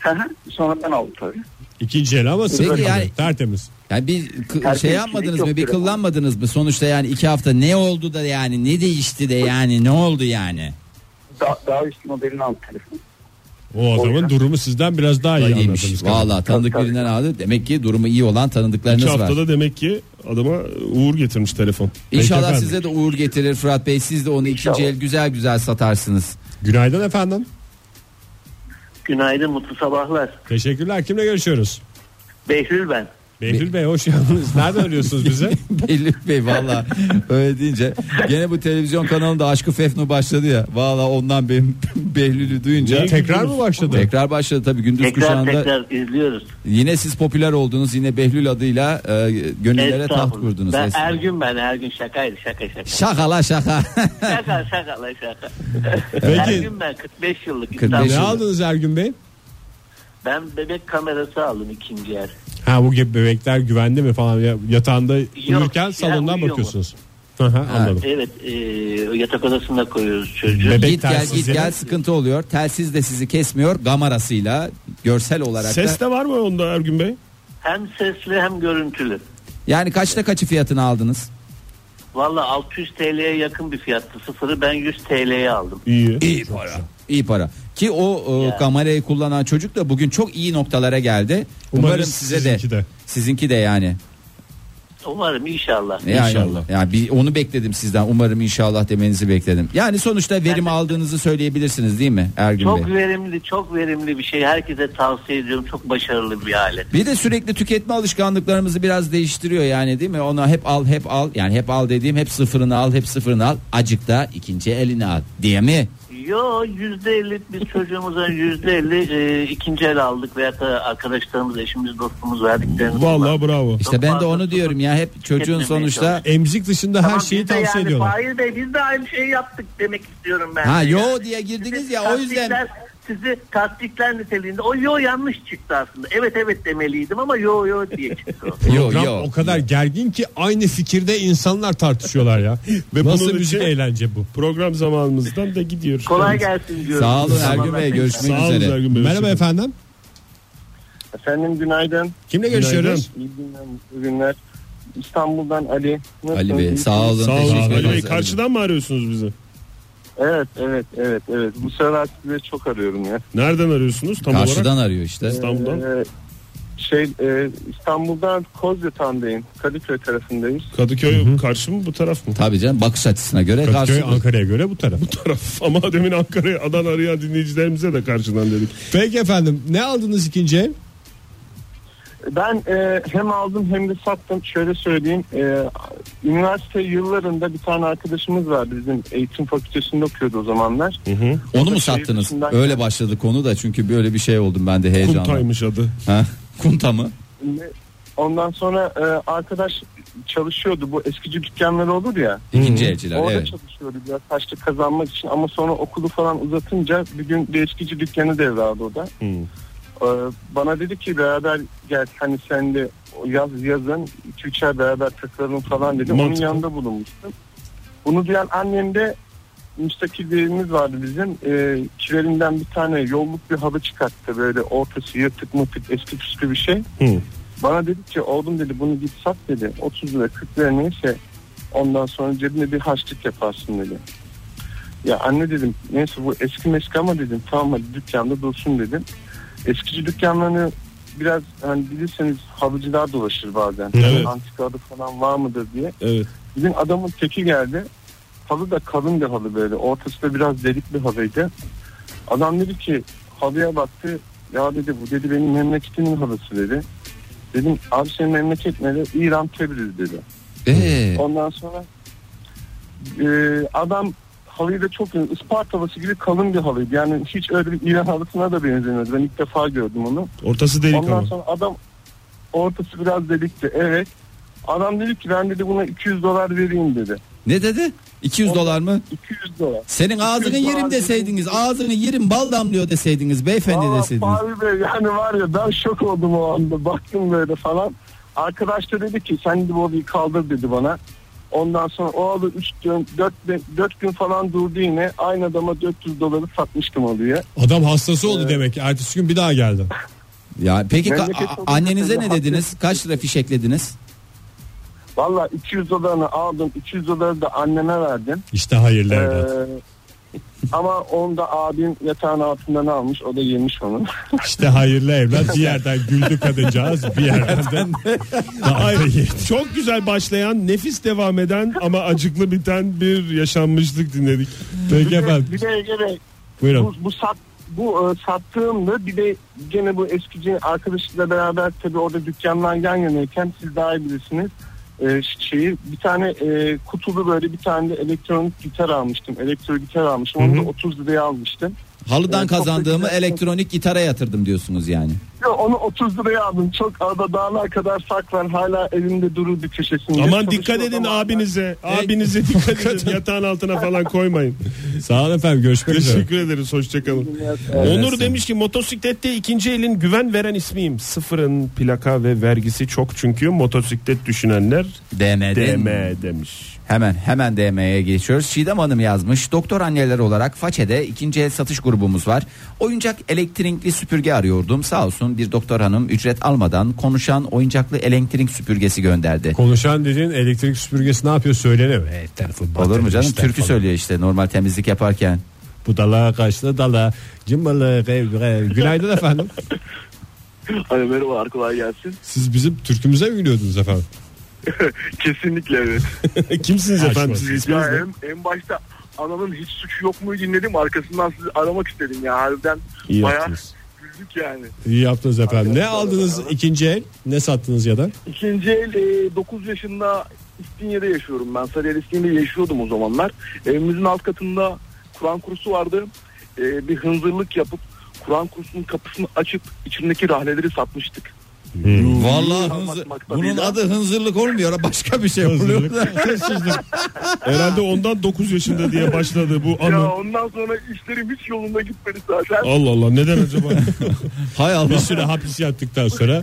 G: Hı hı, sonra ben aldım tabii.
B: İkinci el ama sıfır
C: yani-
B: alıyor, tertemiz.
C: Yani bir k-
G: Herkes
C: şey yapmadınız
G: yok
C: mı? Bir
G: telefon.
C: kullanmadınız mı? Sonuçta yani iki hafta ne oldu da yani ne değişti de yani ne oldu yani?
G: Daha, daha üst modelini aldım telefon.
B: O adamın durumu sizden biraz daha iyi anladınız.
C: İyiymiş. Valla tanıdık
G: Tabii,
C: birinden aldı. Demek ki durumu iyi olan
D: İki
C: tanıdıklarınız var.
D: haftada demek ki adama uğur getirmiş telefon.
C: İnşallah
B: Peki
C: size de uğur getirir Fırat Bey. Siz de onu ikinci el güzel güzel satarsınız. [LAUGHS]
B: Günaydın efendim.
H: Günaydın, mutlu sabahlar.
B: Teşekkürler. Kimle görüşüyoruz?
H: Behlül ben.
B: Behlül Bey hoş geldiniz. Nereden arıyorsunuz
C: [LAUGHS]
B: bize?
C: Belli Bey valla öyle deyince gene bu televizyon kanalında Aşkı Fefno başladı ya. Valla ondan benim [LAUGHS] Behlül'ü duyunca
B: Tekrar mı başladı?
C: tekrar başladı tabii gündüz
H: Tekrar
C: kuşağında.
H: tekrar izliyoruz.
C: Yine siz popüler oldunuz. Yine Behlül adıyla e, gönüllere
H: Estağfurullah.
C: taht kurdunuz.
H: Ben er-
C: Estağfurullah.
H: her gün ben her gün şakaydı
C: [LAUGHS]
H: şaka şaka.
C: Şaka la şaka. [LAUGHS]
H: Şaka şaka la şaka. her
B: Peki
H: gün ben 45 yıllık
C: 45
H: İstanbul.
B: ne
C: yıl.
B: aldınız Ergün Bey?
H: Ben bebek kamerası aldım ikinci yer.
B: Ha bu gibi bebekler güvende mi falan ya- yatağında uyurken
H: ya,
B: salondan
H: uyuyor mu?
B: bakıyorsunuz. Hı hı, anladım.
H: Evet e, yatak odasına koyuyoruz çocuğu.
B: Bebek
C: git gel git
B: telsizi.
C: gel sıkıntı oluyor. Telsiz de sizi kesmiyor. Gamarasıyla görsel olarak
D: Ses
C: da.
D: de var mı onda Ergün Bey?
H: Hem sesli hem görüntülü.
C: Yani kaçta kaçı fiyatını aldınız?
H: Valla 600 TL'ye yakın bir fiyattı sıfırı ben 100 TL'ye aldım.
D: İyi.
C: İyi para. İyi para. Ki o e, kamerayı kullanan çocuk da bugün çok iyi noktalara geldi.
B: Umarım
C: Umarım, size
B: sizinki
C: de,
B: de.
C: Sizinki de yani.
H: Umarım inşallah.
C: Yani,
D: İnşallah.
C: Yani bir onu bekledim sizden. Umarım inşallah demenizi bekledim. Yani sonuçta verim aldığınızı söyleyebilirsiniz değil mi Ergün Bey?
H: Çok verimli, çok verimli bir şey. Herkese tavsiye ediyorum. Çok başarılı bir alet.
C: Bir de sürekli tüketme alışkanlıklarımızı biraz değiştiriyor yani değil mi? Ona hep al hep al yani hep al dediğim hep sıfırını al hep sıfırını al acık da ikinci elini al diye mi?
H: Yo yüzde elli biz çocuğumuza yüzde elli e, ikinci el aldık veya da arkadaşlarımız, eşimiz, dostumuz verdiklerimiz.
D: Vallahi bravo.
C: İşte ben de onu diyorum ya hep çocuğun
H: Tüketmemeye
C: sonuçta
H: çalışın.
B: Emzik dışında her şeyi tavsiye ediyorlar.
H: Hayır Bey biz de aynı şeyi yaptık demek istiyorum ben.
C: ha
H: de.
C: yo diye girdiniz ya o yüzden
H: Tasdikler- Sizi tasdikler niteliğinde o yo yanlış çıktı aslında. Evet evet demeliydim ama yo yo diye çıktı.
C: [LAUGHS]
H: o.
C: yo
B: Program
C: yo.
B: o kadar gergin ki aynı fikirde insanlar tartışıyorlar ya. Ve
D: Nasıl
B: Nasıl
D: bir
B: bunun için
D: şey?
B: eğlence bu.
D: Program zamanımızdan da gidiyoruz.
H: Kolay gelsin diyorum.
C: Sağ olun Ergün Bey görüşmek
D: Sağ olun
C: üzere.
D: Ergün Bey.
B: Merhaba efendim.
A: Efendim günaydın.
B: Kimle görüşüyoruz?
A: İyi günler, mutlu günler. İstanbul'dan Ali. Nasılsınız?
C: Ali Bey
A: İyi-
C: sağ olun.
D: Sağ olun
C: teşekkür
D: Ali Bey.
C: ederiz.
D: Karşıdan mı arıyorsunuz bizi?
A: Evet, evet, evet, evet. Bu sefer size çok arıyorum ya.
D: Nereden arıyorsunuz tam olarak?
C: Karşıdan arıyor işte.
D: İstanbul'dan.
A: Ee, şey, e, İstanbul'dan Kozyatan'dayım. Kadıköy tarafındayız.
D: Kadıköy karşı mı bu taraf mı?
C: Tabii canım bakış açısına göre
D: şey
B: Kadıköy
C: karşı.
B: Ankara'ya göre bu taraf.
D: taraf. Ama demin Ankara'ya Adana arayan dinleyicilerimize de karşıdan dedik.
B: Peki efendim ne aldınız ikinci el?
A: Ben e, hem aldım hem de sattım. Şöyle söyleyeyim. e, üniversite yıllarında bir tane arkadaşımız vardı. Bizim eğitim fakültesinde okuyordu o zamanlar.
C: Onu mu sattınız?
D: şey
A: Şehir dışından-
C: Öyle başladı konu da çünkü böyle bir şey oldum ben de heyecanla.
D: Kumtaymış adı.
C: Ha? Kunta mı?
A: Ondan sonra e, arkadaş çalışıyordu. Bu eskici dükkanları olur ya.
C: İkinci elciler
A: Orada
C: evet.
A: çalışıyordu biraz taşlı kazanmak için ama sonra okulu falan uzatınca bir gün bir eskici dükkanı devraldı o da.
D: Hmm.
A: Ee, bana dedi ki beraber gel hani sen de yaz yazın 2-3 ay beraber takılalım falan dedi. Onun
D: Mantıklı.
A: yanında bulunmuştum. Bunu duyan annem de müstakil bir evimiz vardı bizim. Ee, kilerinden bir tane yolluk bir halı çıkarttı böyle ortası yırtık mıtık eski püskü bir şey.
D: Hı.
A: Bana dedi ki oğlum dedi bunu git sat dedi. 30 lira 40 lira neyse ondan sonra cebine bir harçlık yaparsın dedi. Ya anne dedim neyse bu eski meski ama dedim tamam hadi dükkanda dursun dedim. Eskici dükkanlarını biraz hani bilirseniz halıcılar dolaşır bazen.
D: Evet.
A: Antikada falan var mıdır diye.
D: Evet.
A: Bizim adamın teki geldi. Halı da kalın bir halı böyle. Ortası da biraz delik bir halıydı. Adam dedi ki halıya baktı. Ya dedi bu dedi benim memleketimin halısı dedi. Dedim abi senin memleket ne dedi? İran Tebriz dedi.
C: Ee,
A: Ondan sonra e, adam halıyı da çok Ispartalısı gibi kalın bir halıydı. Yani hiç öyle bir İran halısına da benzemiyordu. Ben ilk defa gördüm onu.
D: Ortası delik
A: Ondan
D: ama.
A: sonra adam ortası biraz delikti. Evet. Adam dedi ki ben dedi buna 200 dolar vereyim dedi.
C: ne dedi? 200 dolar mı?
A: 200 dolar.
C: Senin ağzını yerim deseydiniz, ağzını yerim bal damlıyor deseydiniz beyefendi
A: Aa,
C: deseydiniz.
A: Fahri Bey yani var ya ben şok oldum o anda. Baktım böyle falan. Arkadaş da dedi ki sen de bu odayı kaldır dedi bana. Ondan sonra o alı 3 gün 4, 4 gün falan durdu yine. Aynı adama 400 doları satmıştım alıyor.
B: Adam hastası oldu demek ki. Ertesi gün bir daha geldi.
C: Ya peki ka-
A: Memleket
C: a-
A: olduğu
C: annenize ne
A: sürece
C: dediniz? Kaç lira fişeklediniz?
A: Valla 200 dolarını aldım. 200 doları da anneme verdim.
B: İşte hayırlı
A: Ee,
B: evlat.
A: ama onu da abim yatağın altından almış. O da yemiş onu.
B: İşte hayırlı evlat. Bir yerden güldü kadıncağız. Bir yerden de daha da
D: Hayır.
B: yedi.
D: Çok güzel başlayan, nefis devam eden ama acıklı biten bir yaşanmışlık dinledik.
B: Peki efendim.
A: bir de Ege Bey, bu,
B: Buyurun.
A: bu sat bu e, sattığımda bir de gene bu eskici arkadaşıyla beraber tabii orada dükkanlar yan yanayken siz daha iyi bilirsiniz. E, ş- şeyi bir tane e, kutulu böyle bir tane de elektronik gitar almıştım. Elektro gitar almıştım. Onu da 30 liraya almıştım.
C: Halıdan
A: Ee, çok
C: kazandığımı
A: güzel.
C: elektronik gitara yatırdım diyorsunuz yani.
A: Yo, onu 30 liraya aldım. Çok arada dağlar kadar saklar hala elimde durur bir köşesinde.
D: Aman
A: Çalışma
D: dikkat edin
A: zamanlar-
D: abinize. Abinize dikkat edin. Yatağın altına falan koymayın.
B: [LAUGHS] Sağ olun efendim. Görüşmek üzere.
D: Teşekkür ederiz. Hoşçakalın.
C: Öyleyse.
D: Onur demiş ki motosiklette ikinci elin güven veren ismiyim. Sıfırın plaka ve vergisi çok çünkü motosiklet düşünenler
C: DM'den.
D: DM demiş.
C: Hemen hemen DM'ye geçiyoruz. Şidem Hanım yazmış. Doktor anneler olarak Façe'de ikinci el satış grubumuz var. Oyuncak elektrikli süpürge arıyordum. Sağ olsun bir doktor hanım ücret almadan konuşan oyuncaklı elektrik süpürgesi gönderdi.
B: Konuşan dediğin elektrik süpürgesi ne yapıyor söylene. Evet, tarafı
C: Olur mu
B: batırdı
C: canım?
B: işte
C: Türkü
B: falan.
C: söylüyor işte normal temizlik yaparken.
B: Bu dala kaçtı dala. Cımbalı rev rev. [LAUGHS] Günaydın efendim.
F: Hayır, merhabalar kolay gelsin.
B: Siz bizim türkümüze mi gülüyordunuz efendim?
F: Kesinlikle evet.
D: Kimsiniz
B: Aşk
D: efendim
B: olsun.
D: siz isminiz
F: ya
D: ne?
F: en, en başta ananın hiç suçu yok mu dinledim arkasından sizi aramak istedim ya harbiden
D: İyi
F: bayağı
D: yaptınız.
F: güldük yani.
B: İyi yaptınız efendim. Ne aldınız ikinci el? Ne sattınız ya da?
F: İkinci el e, 9 yaşında İstinye'de yaşıyorum ben. Sarıyer İstinye'de yaşıyordum o zamanlar. Evimizin alt katında Kur'an kursu vardı. E, bir hınzırlık yapıp Kur'an kursunun kapısını açıp içindeki rahleleri satmıştık.
D: Hmm.
C: Vallahi
F: Almak
C: hınzır-
F: maksadıyla.
C: bunun adı hınzırlık olmuyor. Başka bir şey oluyor.
D: Herhalde ondan 9 yaşında diye başladı
F: [LAUGHS]
D: bu
F: Ya
D: anı.
F: ondan sonra işlerim hiç yolunda gitmedi zaten.
D: Allah Allah neden acaba?
C: Hay Allah.
B: Bir süre hapis yattıktan sonra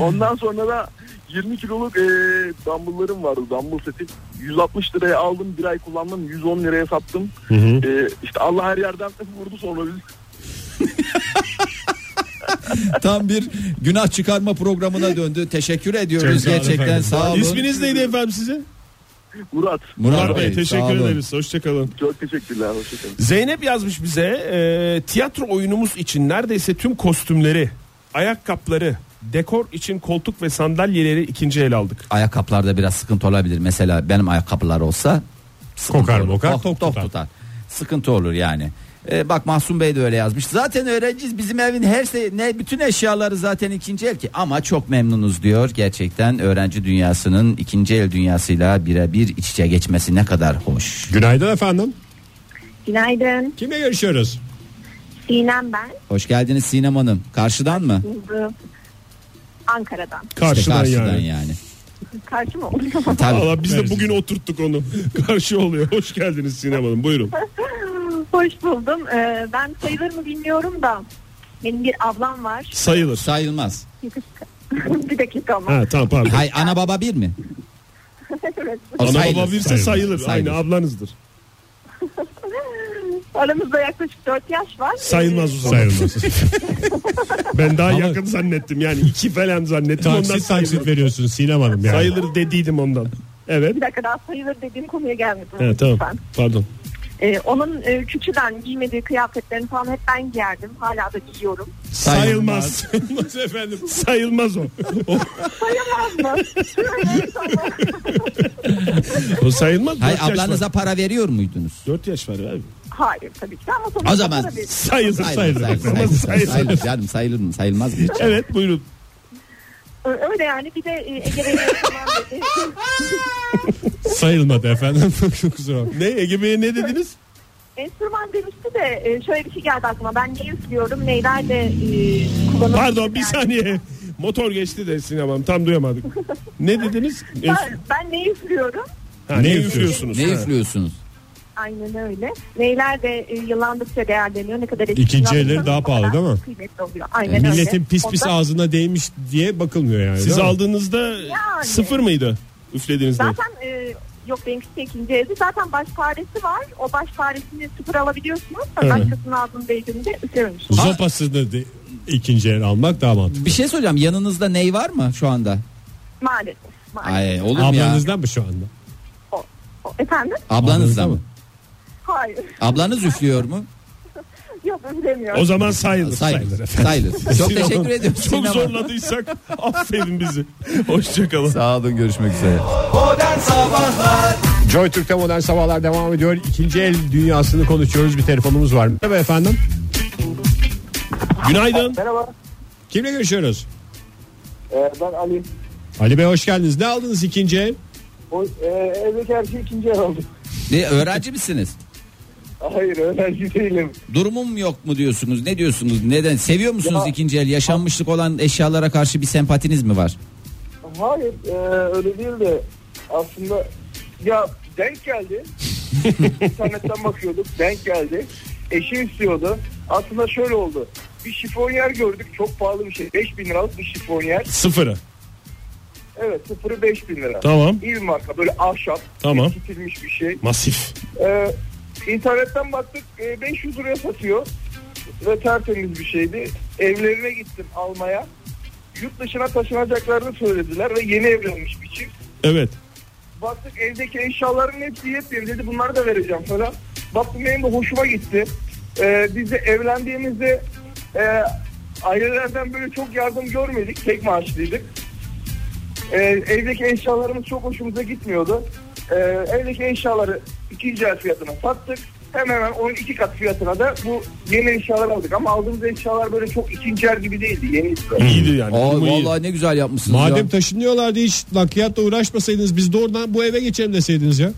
F: Ondan sonra da 20 kiloluk e, dumbbelllarım vardı. Dumbbell seti. 160 liraya aldım. Bir ay kullandım. 110 liraya sattım. E, işte Allah her yerden vurdu sonra biz.
C: [LAUGHS] Tam bir günah çıkarma programına döndü. Teşekkür ediyoruz
B: Çok sağ olun
C: gerçekten.
B: efendim.
C: Sağ olun.
D: İsminiz neydi efendim sizin?
F: Murat.
D: Murat Bey
C: sağ
D: teşekkür
C: olun.
D: ederiz. Hoşçakalın.
F: Çok teşekkürler. Hoşçakalın.
D: Zeynep yazmış bize e, tiyatro oyunumuz için neredeyse tüm kostümleri, ayakkabıları, dekor için koltuk ve sandalyeleri ikinci el aldık.
C: ayakkabılarda biraz sıkıntı olabilir. Mesela benim ayakkabılar olsa sıkıntı
B: Kokar
C: olur.
B: mokar,
C: Tok-
B: tok
C: tok
B: tutar.
C: Sıkıntı olur yani. Ee, bak Mahsun Bey de öyle yazmış. Zaten öğrenciyiz bizim evin her se- ne bütün eşyaları zaten ikinci el ki ama çok memnunuz diyor. Gerçekten öğrenci dünyasının ikinci el dünyasıyla birebir iç içe geçmesi ne kadar hoş.
B: günaydın efendim.
E: Günaydın.
B: Kimle görüşüyoruz?
E: Sinem ben.
C: Hoş geldiniz Sinem Hanım. Karşıdan mı? İşte
E: Ankara'dan.
D: Karşıdan, yani.
C: yani.
E: Karşı mı oldu?
C: Tabii.
D: Valla biz de
B: Merhaba.
D: bugün oturttuk onu. [LAUGHS] Karşı oluyor. Hoş geldiniz Sinem Hanım. Buyurun.
E: [LAUGHS] Hoş buldum. Ee, ben sayılır mı bilmiyorum da benim bir ablam var.
D: Sayılır.
C: Sayılmaz.
E: [LAUGHS] bir dakika ama.
D: Ha tamam pardon.
C: Hay ana baba bir mi?
E: Evet.
C: O
D: Ana
C: sayılır.
D: baba birse sayılır.
C: Sayılır.
D: Aynı ablanızdır.
E: Aramızda yaklaşık 4 yaş var. Ee,
D: Sayılmaz o zaman.
B: Sayılmaz.
D: Ben daha
B: Ama-
D: yakın zannettim. Yani iki falan zannettim. Ondan
B: taksit
D: sayılır.
B: taksit veriyorsun Sinem Hanım yani.
D: Sayılır dediydim ondan. Evet.
E: Bir dakika daha sayılır dediğim konuya gelmedim.
D: Ha, tamam.
E: Lütfen.
D: Pardon.
E: Ee, onun e, küçüden giymediği kıyafetlerini falan hep ben giyerdim. Hala da giyiyorum.
D: Sayılmaz.
B: Sayılmaz efendim.
D: Sayılmaz o. O, [LAUGHS]
E: Sayamaz mı?
D: o sayılmaz.
C: Hayır
D: 4 yaş var.
C: ablanıza para veriyor muydunuz?
D: 4 yaş var abi.
E: Hayır tabii ki ama sonuçta
C: O zaman
E: para veriyorum.
D: Sayılır sayılır. Ama sayılır.
C: sayılır. Canım sayılır mı? Sayılmaz mı? hiç?
D: Evet buyurun.
E: Ö- Öyle yani bir de e, Ege Bey'e falan [LAUGHS] dedi.
B: Sayılmadı efendim. [LAUGHS] Çok kusura bakmayın.
D: Ne Ege Bey'e ne dediniz?
E: Enstrüman demişti de e, şöyle bir şey geldi aklıma. Ben ne üflüyorum, neylerle e, kullanıyorum.
D: Pardon bir
E: Yani.
D: saniye. Motor geçti de Sinem Hanım tam duyamadık. Ne dediniz?
E: Ben, ben ne üflüyorum?
D: Ha,
B: Ne
D: ne
B: üflüyorsunuz?
D: üflüyorsunuz?
C: Ne
D: Ha.
C: üflüyorsunuz?
E: Aynen öyle. Neyler de e, yıllandıkça değerleniyor. Ne kadar
B: İkinci
E: eskiden
B: elleri
E: bakıyorsanız
B: daha
E: o
B: pahalı
E: kadar
B: değil mi? E,
E: Kıymetli oluyor. Aynen öyle.
B: Milletin pis pis
E: Ondan-
B: ağzına değmiş diye bakılmıyor yani.
D: Siz
B: değil mi?
D: aldığınızda
E: Yani.
D: sıfır mıydı? Üflediğinizde.
E: Zaten e, yok benimki de ikinci evde. Zaten baş faresi var. O baş faresini sıfır alabiliyorsunuz. Fakat başkasının ağzını değdiğinde üflememiş.
B: Zopasını de- ikinci el almak daha mantıklı.
C: Bir şey soracağım. Yanınızda ney var mı şu anda?
E: Maalesef. maalesef.
C: Ay olur mu ya?
B: Ablanızdan mı şu anda?
E: O, o- efendim?
C: Ablanızda
B: Ablanızda
C: mı?
E: Hayır. [LAUGHS]
C: Ablanız üflüyor mu?
E: yok üflemiyorum.
D: O zaman sayılır.
C: Sayılır. Sayılır. Çok
D: Sinem
C: teşekkür
D: Hanım,
C: ediyorum. Sinem
D: Çok
C: Hanım.
D: zorladıysak affedin bizi. Hoşçakalın.
C: Sağ olun görüşmek üzere.
B: Joy Türk'te modern sabahlar devam ediyor. İkinci el dünyasını konuşuyoruz. Bir telefonumuz var. Merhaba efendim.
D: Günaydın.
A: Merhaba
B: Kimle görüşüyoruz?
A: e, ben Ali.
B: Ali Bey hoş geldiniz. Ne aldınız ikinci el?
A: O, e, evdeki her şey ikinci el oldu.
C: Ne, öğrenci misiniz?
A: Hayır öğrenci değilim.
C: Durumum yok mu diyorsunuz? Ne diyorsunuz? Neden? Seviyor musunuz
A: Ya-
C: ikinci el? Yaşanmışlık olan eşyalara karşı bir sempatiniz mi var?
A: Hayır e, öyle değil de aslında ya
D: [LAUGHS]
A: denk geldi. İnternetten bakıyorduk denk geldi. Eşi istiyordu. Aslında şöyle oldu. Bir şifonyer gördük çok pahalı bir şey. 5000 liralık bir şifonyer.
D: Sıfırı.
A: Evet sıfırı 5000 lira.
D: Tamam.
A: İyi bir marka böyle ahşap.
D: Tamam.
A: Kesilmiş bir şey.
D: Masif.
A: Ee, internetten baktık e, 500 liraya satıyor ve tertemiz bir şeydi. Evlerine gittim almaya. Yurt dışına taşınacaklarını söylediler ve yeni evlenmiş bir çift.
D: Evet.
A: Baktık evdeki eşyaların hepsi yepyeni dedi bunları da vereceğim falan. Baktım benim de hoşuma gitti. Ee, biz de evlendiğimizde e, ailelerden böyle çok yardım görmedik. Tek maaşlıydık. Ee, evdeki eşyalarımız çok hoşumuza gitmiyordu. Ee, evdeki eşyaları ikinci el fiyatına sattık. Hemen hemen onun iki kat fiyatına da bu yeni eşyalar aldık. Ama aldığımız eşyalar böyle çok ikinci el gibi değildi. Yeniydi.
D: İyiydi yani.
C: Aa,
D: Durumu iyi.
C: vallahi ne güzel yapmışsınız
B: Madem
C: ya.
B: taşınıyorlardı hiç nakliyatla uğraşmasaydınız biz doğrudan bu eve geçelim deseydiniz ya.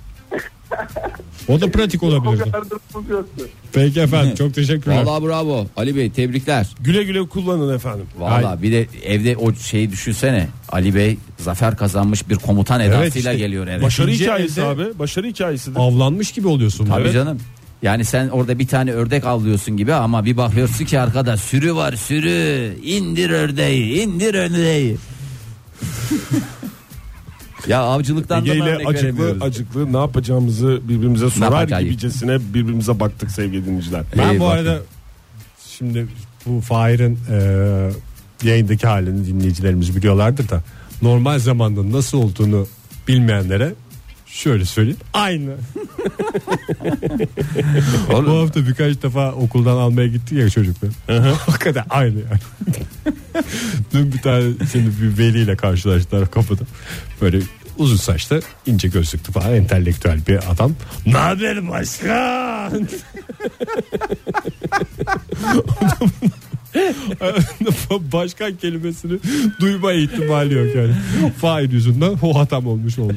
B: O da pratik
A: O
B: olabilirdi.
A: kadar durumumuz yoktu.
B: Peki efendim çok teşekkürler.
C: Vallahi bravo. Ali Bey tebrikler.
D: Güle güle kullanın efendim.
C: Vallahi bir de evde o şeyi düşünsene. Ali Bey zafer kazanmış bir komutan edasıyla
B: işte.
C: geliyor eve.
D: Başarı
B: İkinci
D: hikayesi
B: elde-
D: abi. Başarı hikayesidir.
B: Avlanmış gibi oluyorsun.
C: Tabii
B: Evet.
C: canım. Yani sen orada bir tane ördek avlıyorsun gibi ama bir bakıyorsun ki arkada sürü var sürü. İndir ördeği, indir ördeği. [LAUGHS] ya avcılıktan da
D: Ege ile
C: örnek
D: acıklı
C: veremiyoruz.
D: acıklı ne yapacağımızı birbirimize sorar
C: yapacağız?
D: gibicesine birbirimize baktık sevgili dinleyiciler.
B: Ben
C: Ee,
B: bu
C: bakın.
B: arada şimdi bu Fahir'in e, yayındaki halini dinleyicilerimiz biliyorlardır da normal zamanda nasıl olduğunu bilmeyenlere şöyle söyleyeyim. Aynı.
C: Oğlum,
B: Bu hafta birkaç defa okuldan almaya gitti ya çocuklar. o kadar aynı yani. Dün bir tane şimdi bir veliyle karşılaştılar kapıda. Böyle uzun saçlı ince gözlüklü falan entelektüel bir adam. Ne haber başkan? [LAUGHS] başkan kelimesini duyma ihtimali yok yani. Fail yüzünden o hatam olmuş oldu.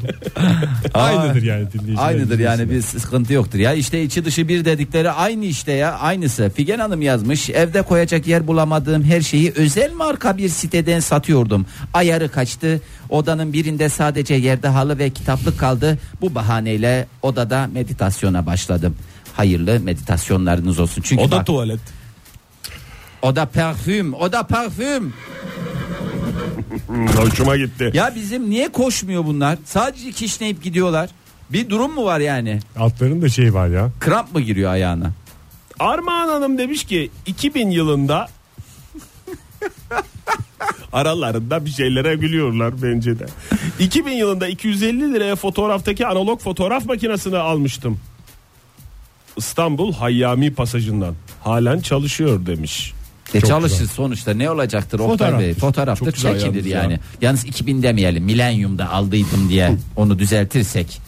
B: Aynıdır yani dinleyiciler.
C: Aynıdır
D: şey
C: yani bir sıkıntı yoktur ya işte içi dışı bir dedikleri aynı işte ya aynısı Figen Hanım yazmış evde koyacak yer bulamadığım her şeyi özel marka bir siteden satıyordum ayarı kaçtı odanın birinde sadece yerde halı ve kitaplık kaldı bu bahaneyle odada meditasyona başladım hayırlı meditasyonlarınız olsun çünkü
D: O da
C: bak,
D: tuvalet.
C: oda parfüm oda parfüm
D: Hoşuma gitti.
C: ya bizim niye koşmuyor bunlar sadece kişneyip gidiyorlar bir durum mu var yani
B: Altların da şeyi var ya.
C: kramp mı giriyor ayağına
D: Armağan Hanım demiş ki 2000 yılında aralarında bir şeylere gülüyorlar bence de. 2000 yılında 250 liraya fotoğraftaki analog fotoğraf makinesini almıştım. İstanbul Hayyami pasajından halen çalışıyor demiş.
C: E çalışır sonuçta ne olacaktır Oktay
B: Fotoğraftır.
C: Bey? Fotoğraftır
D: Çok güzel
C: çekilir
D: yalnız ya.
C: yani. Yalnız 2000 demeyelim milenyumda aldıydım diye onu düzeltirsek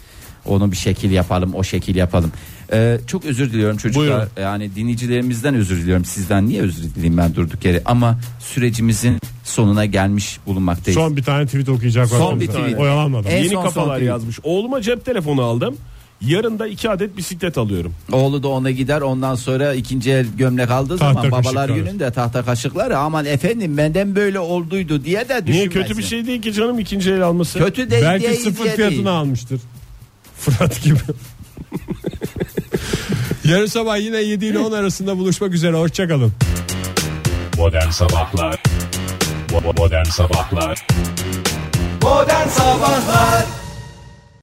C: onu bir şekil yapalım o şekil yapalım. Ee, çok özür diliyorum çocuklar.
D: Buyurun.
C: Yani dinleyicilerimizden özür diliyorum. Sizden niye özür dileyim ben durduk yere? Ama sürecimizin sonuna gelmiş bulunmaktayız.
B: Son bir tane tweet okuyacak var.
C: Son bir tweet.
B: Oyalanmadan.
C: En
D: Yeni
C: son
D: kafalar
C: son tweet.
D: yazmış. Oğluma cep telefonu aldım. Yarın da iki adet bisiklet alıyorum.
C: Oğlu da ona gider ondan sonra ikinci el gömlek aldığı
B: Tahta
C: zaman babalar
B: kaşıklar.
C: gününde tahta kaşıklar aman efendim benden böyle olduydu diye de
D: Niye
C: düşünmesin.
D: kötü bir şey değil ki canım ikinci el alması.
C: Kötü değil
B: Belki
C: diye-
B: sıfır
C: diye
B: fiyatına
C: değil.
D: [LAUGHS]
B: almıştır. Fırat gibi. [LAUGHS] Yarın sabah yine 7 ile 10 arasında buluşmak üzere. Hoşçakalın.
I: Modern Sabahlar Bo- bo- Modern Sabahlar
C: Modern Sabahlar